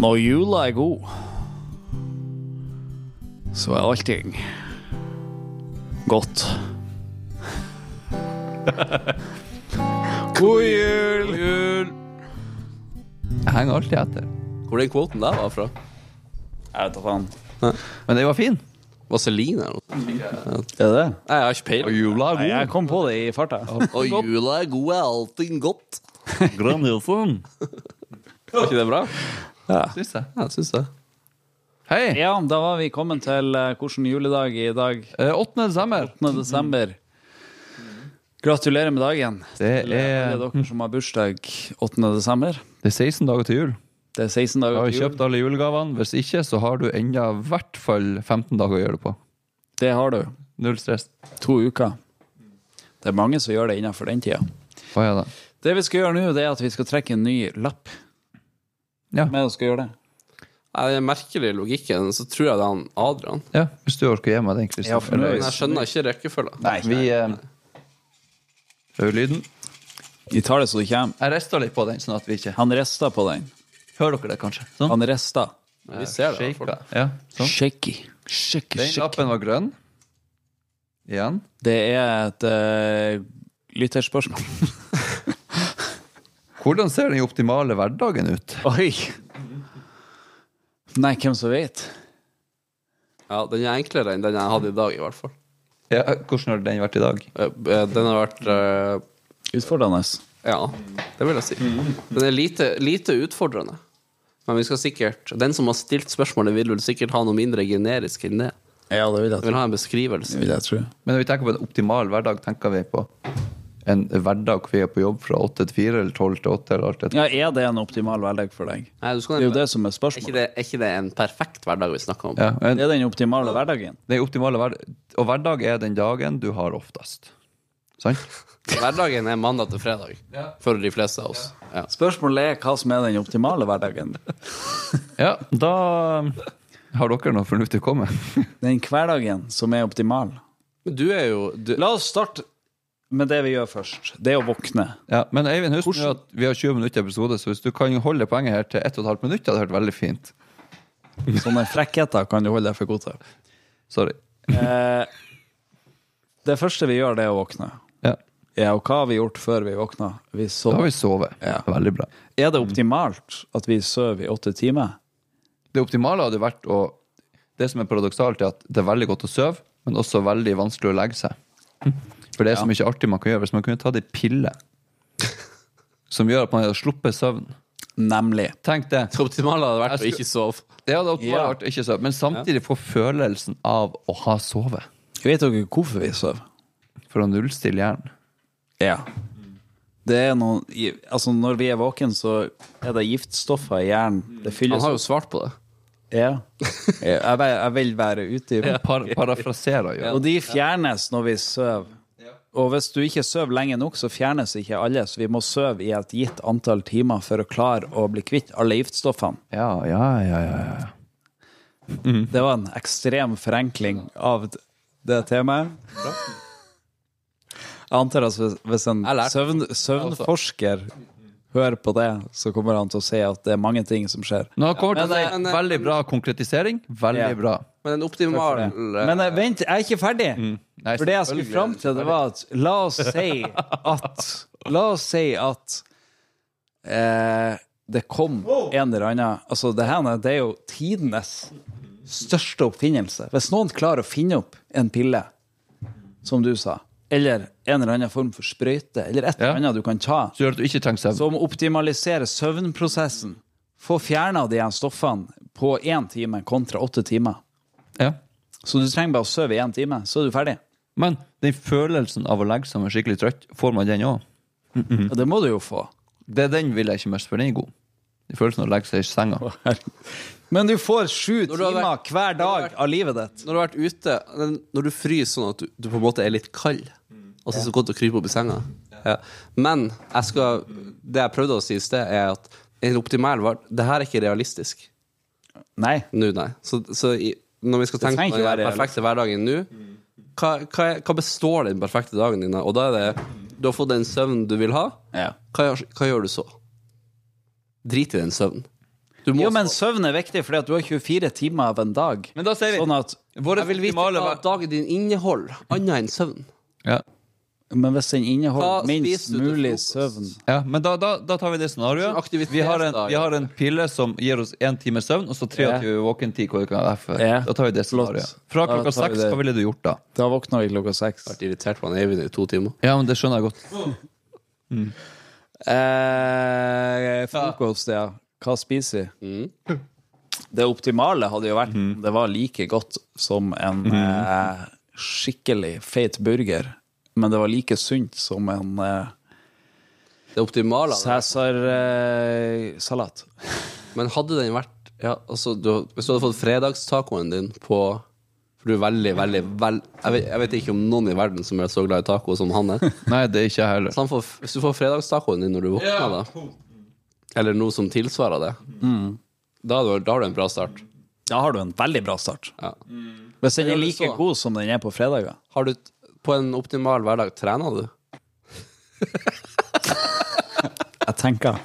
Når jula er god, så er allting godt. God jul! Jeg henger alltid etter. Hvor den kvoten der var fra? Jeg vet da faen. Men den var fin. Vaseline eller noe? Er det det? Nei, jeg har ikke peiling. Jula er Jeg kom på det i farta. Og jula er god, er alltid godt. Grandiosen. Var ikke det bra? syns jeg. Ja, jeg syns det. Hei! Ja, da var vi kommet til eh, hvordan juledag i dag. eh, 8. desember. 8. desember. Gratulerer med dagen. Det Til er, alle dere som har bursdag 8. desember. det er 16 dager til jul. Det er 16 Jeg har dager jo til jul. kjøpt alle julegavene. Hvis ikke, så har du enda i hvert fall 15 dager å gjøre det på. Det har du. Null stress. To uker. Det er mange som gjør det innenfor den tida. Hva er det? Det vi skal gjøre nå, det er at vi skal trekke en ny lapp. Ja. Hvem er det som skal gjøre det? Nei, Den merkelige logikken, så tror jeg det er han Adrian. Ja, hvis du orker gi meg den, Kristian. Ja, for nå er Men jeg skjønner ikke rekkefølgen. Nei, vi eh, Prøver lyden. Vi tar det så det kommer. Jeg rester litt på den, sånn at vi ikke Han resta på den. Hører dere det, kanskje? Sånn. Han resta. Vi ser det. i hvert fall. Shaker. Ja, sånn. Shaky. Shaky, Den shaky. lappen var grønn. Igjen. Det er et eh, lytterspørsmål. Hvordan ser den optimale hverdagen ut? Oi! Nei, hvem som vet? Ja, Den er enklere enn den jeg hadde i dag, i hvert fall. Ja, hvordan har den vært i dag? Eh, eh, Den har vært eh, Utfordrende. Ja, det vil jeg si. Den er lite, lite utfordrende. Men vi skal sikkert Den som har stilt spørsmålet, vil vel sikkert ha noe mindre generisk enn det. Ja, det vil jeg Den vil ha en beskrivelse. vil jeg tro. Men når vi tenker på en optimal hverdag, tenker vi på en hverdag hvor vi er på jobb fra åtte til fire, eller tolv til åtte, eller alt det Ja, er det en optimal hverdag for deg? Nei, du skal Det er jo det nemlig- som er er ikke spørsmålet. det, er ikke det en perfekt hverdag vi snakker om? Ja, men Det er den optimale hverdagen. den optimale hverdag Og hverdag er den dagen du har oftest. Sant? Hverdagen er mandag til fredag for de fleste av oss. Ja. Spørsmålet er hva som er den optimale hverdagen. Ja, da har dere noe fornuftig å komme med. Den hverdagen som er optimal. Men du er jo du, La oss starte med det vi gjør først. Det er å våkne. Ja, men Eivind, husk nå at vi har 20 minutter i episode, så hvis du kan holde poenget her til 1 12 minutter, hadde det vært veldig fint. Sånne frekkheter kan du holde deg for god til. Sorry. Eh, det første vi gjør, det er å våkne. Ja. Ja, og hva har vi gjort før vi våkna? Vi Da har sov. vi sovet. Ja. Veldig bra. Er det optimalt at vi sover i åtte timer? Det optimale hadde vært å Det som er paradoksalt, er at det er veldig godt å sove, men også veldig vanskelig å legge seg. For det er så mye artig man kan gjøre. Hvis man kunne tatt ei pille som gjør at man hadde sluppet søvn Nemlig. Tenk det. Det optimale hadde vært å Jeg ikke sove. Det hadde optimalt Ja. vært å ikke sove, men samtidig få følelsen av å ha sovet. Vet dere hvorfor vi sover? For å nullstille hjernen. Ja. Det er noen, i- altså når vi er våken, så er det giftstoffer i hjernen. Det Han fylles har opp. jo svart på det. Ja. Ja, Jeg, vil- jeg vil være ute i rom. Par parafraserer jo. Og de fjernes når vi sover. Og hvis du ikke sover lenge nok, så fjernes ikke alle. Så vi må sove i et gitt antall timer for å klare å bli kvitt alle giftstoffene. Ja, ja, ja, ja. ja. Mhm. Det var en ekstrem forenkling av d- det temaet. Jeg antar at hvis- hvis en Jeg lærte. altså. søvn, søvnforsker hører på det, så kommer han til å si at det er mange ting som skjer. Nå kommer Men, det til å eh, si veldig bra konkretisering. Veldig Ja. bra. Men en optimal Men eh, vent, jeg er ikke ferdig. Mm. Nei, For det jeg skulle selvfølgelig fram er det til, det var at la oss si at La oss si at eh, det kom en eller annen Altså, det her det er jo tidenes største oppfinnelse. Hvis noen klarer å finne opp en pille, som du sa, eller en eller annen form for sprøyte, eller et eller Ja. annet du kan ta, Så gjør det at du ikke trenger søvn. som optimaliserer søvnprosessen, få fjerna de her stoffene på én time kontra åtte timer, Ja. så du trenger bare å sove i én time, så er du ferdig. Men den følelsen av å legge seg med skikkelig trøtt, får man den òg? Mm. Ja, Det må du jo få. Det er den vil jeg ikke miste, for den er god. Den følelsen av å legge seg i senga. Men du får sju du har timer hver dag av livet ditt. Når du har vært ute, den- når du fryser sånn at du, du på en måte er litt kald Mm. Altså så godt å krype opp i senga. Ja. Men jeg skal, det jeg prøvde å si i sted, er at en optimal var Det her er ikke realistisk Nei. nå, nei. Så, så i, når vi skal tenke trenger på ikke den være perfekte hverdagen nå, hva, hva, er- hva består den perfekte dagen din av? Og da er det Du har fått den søvnen du vil ha. Ja. Hva, gjør- hva gjør du så? Drit i den søvnen. Du må Jo, men sove. søvn er viktig, fordi at du har 24 timer av en dag. Men da sier vi Sånn at, Våre Jeg vil vite optimale hva ver- dagen din inneholder, annet enn søvn. ja. men hvis den Hva inneholder minst spiser du til mulig frokost? søvn ja, men da, da, da tar vi det Sånn scenarioet. aktivitetsdag, Vi har en, vi har en pille som gir oss én time søvn, og så 23 våken-tid. hvor det kan være for. Ja. Da tar vi det Flott. scenarioet. Fra Da klokka tar vi seks, det. hva ville du gjort da? Da våkner vi klokka seks. Vært irritert på han Eivind i to timer. Ja, men det skjønner jeg godt. Eh, frokost, ja. Hva spiser vi? Mm. Det optimale hadde jo vært om det var like godt som en eh, skikkelig feit burger, men det var like sunt som en eh, Det optimale av det. Cæsar-salat. Men hadde den vært ja, altså, du, Hvis du hadde fått fredagstacoen din på For du er veldig, veldig vel, jeg, vet, jeg vet ikke om noen i verden som er så glad i taco som han er. Nei, det er ikke jeg heller. Så han får, hvis du får fredagstacoen din når du våkner, da, eller noe som tilsvarer det, Mm. da, har du- da har du en bra start. da har du en veldig bra start. Ja. Hvis den Gjør er du like så? god som den er på fredager. Har du, t- på en optimal hverdag trener du? Jeg tenker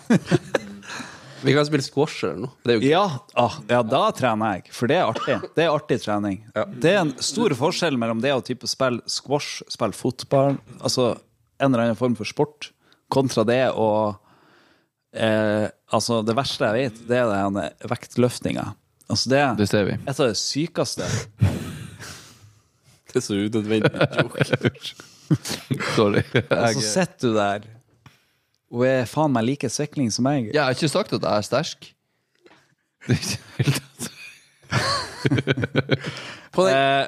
Vi kan spille squash eller noe. Det er jo ikke Ja, ah, ja, da trener jeg, for det er artig. Det er artig trening. Det er en stor forskjell mellom det å type spille squash, spille fotball, altså en eller annen form for sport, kontra det å eh, Altså, det verste jeg vet, det er den vektløftinga. Altså, det er Det ser vi. et av det sykeste. det er så unødvendig joke. Sorry. Og så Jeg, sitter du der og er faen meg like sikling som meg. jeg har ikke sagt at jeg er sterk. Det er ikke helt tatt. På den,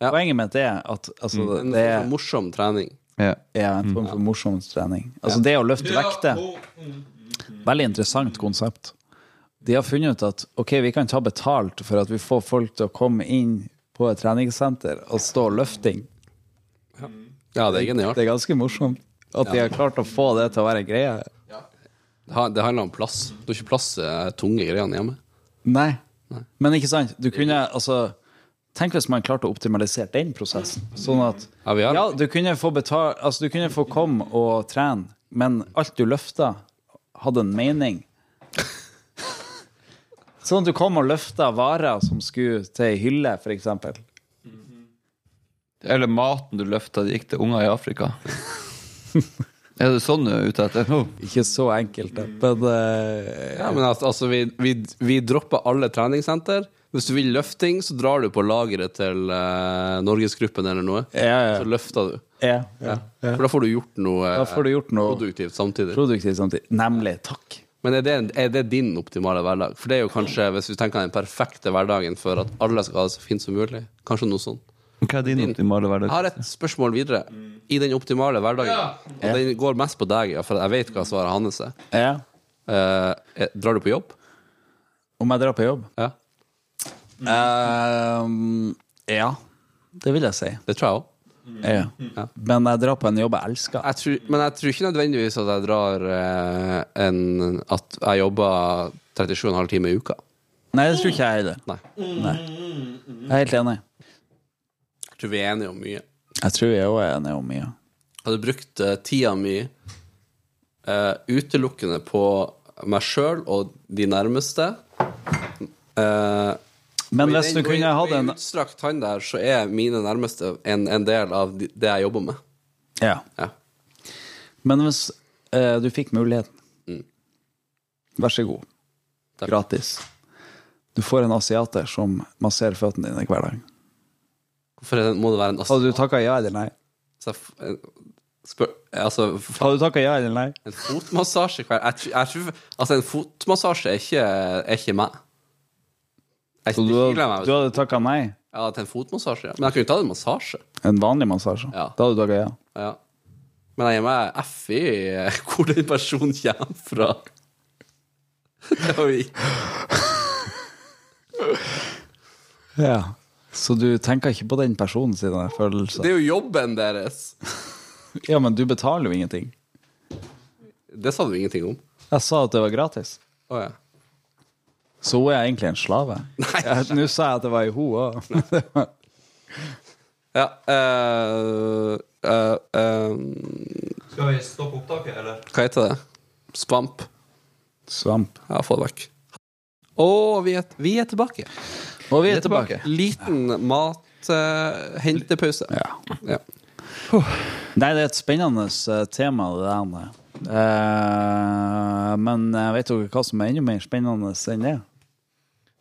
Eh, Poenget mitt er at altså, en det form er for morsom trening. Ja. er en form for morsom trening. Altså det å løfte vekter. Veldig interessant konsept. De har funnet ut at ok, vi kan ta betalt for at vi får folk til å komme inn på et treningssenter og stå og løfting. Ja, det er genialt. Det er ganske morsomt at de har klart å få det til å være en greie. Ha- Det handler om plass. Du har ikke plass til de tunge greiene hjemme. Nei. Men ikke sant, du kunne altså Tenk hvis man klarte å optimalisere den prosessen. Sånn at Ja, vi har- ja, du kunne få betale Altså, du kunne få komme og trene, men alt du løfta, hadde en mening. Sånn at du kom og løfta varer som skulle til ei hylle, f.eks. Eller maten du løfta, det gikk til unger i Afrika. Er det sånn du er ute etter? Nå? Ikke så enkelt, da, men eh, Ja, men altså, altså vi, vi, vi dropper alle treningssenter. Hvis du vil løfting, så drar du på lageret til eh, Norgesgruppen eller noe. ja, ja, Så løfter du. ja, ja. Ja. For da får du gjort noe eh, Da får du gjort noe produktivt samtidig. produktivt samtidig. Nemlig. Takk. Men er det, er det din optimale hverdag? For det er jo kanskje, hvis vi tenker den perfekte hverdagen for at alle skal ha det så fint som mulig, kanskje noe sånt. Hva er din optimale Jeg hverdag? har et spørsmål videre. I den optimale hverdagen, og den går mest på deg, ja, for jeg vet hva svaret hans er. Ja. Eh, eh, drar du på jobb? Om jeg drar på jobb? Ja. Ehm, ja, det vil jeg si. Det tror jeg òg. Ja. Men jeg drar på en jobb jeg elsker. jeg tror, men jeg tror ikke nødvendigvis at jeg drar eh, en At jeg jobber 37,5 timer i uka. Nei, det tror ikke jeg heller. Nei. Nei. Jeg er helt enig. Jeg tror vi er enige om mye. Jeg tror jeg òg er enig om mye. Jeg hadde brukt eh, tida mi eh, utelukkende på meg sjøl og de nærmeste. Eh, Men og i hvis du den- og i- kunne hatt og i en utstrakt hånd der, så er mine nærmeste en, en del av de- det jeg jobber med. Ja. Ja. Men hvis eh, du fikk muligheten Vær så god. Takk. Gratis. Du får en asiater som masserer føttene dine hver dag. Hvorfor er det- må det være en ass... Hadde du takka ja eller nei? så jeg f- en- Spør, altså, f- Hadde du takka ja eller nei? En fotmassasje hver jeg, tr- jeg tror, Altså, en fotmassasje er ikke, er ikke meg. Jeg, Så du, ikke glem hadde- meg. du hadde takka nei? Jeg hadde hatt en fotmassasje, ja. men jeg kunne tatt en massasje. En vanlig massasje? Ja. Da hadde du takka ja? Ja. Men jeg gir meg F i eh, hvor den personen kommer fra. Det var jo ikke- Ja. Så du tenker ikke på den personen sine Det følelser? er jo jobben deres. Ja, men du betaler jo ingenting. Det sa du ingenting om. Jeg sa at det var gratis. Å ja. Så hun er egentlig en slave. Jeg- Nå sa jeg at det var i hun òg. ja eh, eh, eh, Skal vi stoppe opptaket, eller? hva heter det? Spamp. Svamp. Ja, få det vekk. Og vi er, vi er tilbake. Og vi Vi er er tilbake. Liten mat... eh, hentepause. Ja. Nei, det er et spennende eh, tema, det der. med. Eh, men jeg vet dere hva som er enda mer spennende enn det?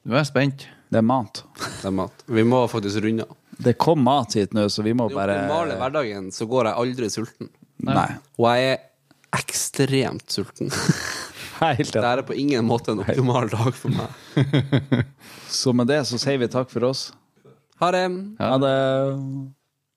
Nå er jeg spent. Det er mat. Det er mat. Vi må faktisk runde av. Det kom mat hit nå, så vi må I bare normale hverdagen så går jeg aldri sulten. Nei. Og jeg er ekstremt sulten. Helt enig. Dette er på ingen måte en optimal dag for meg. Så med det så sier vi takk for oss. Ha det. Ha det.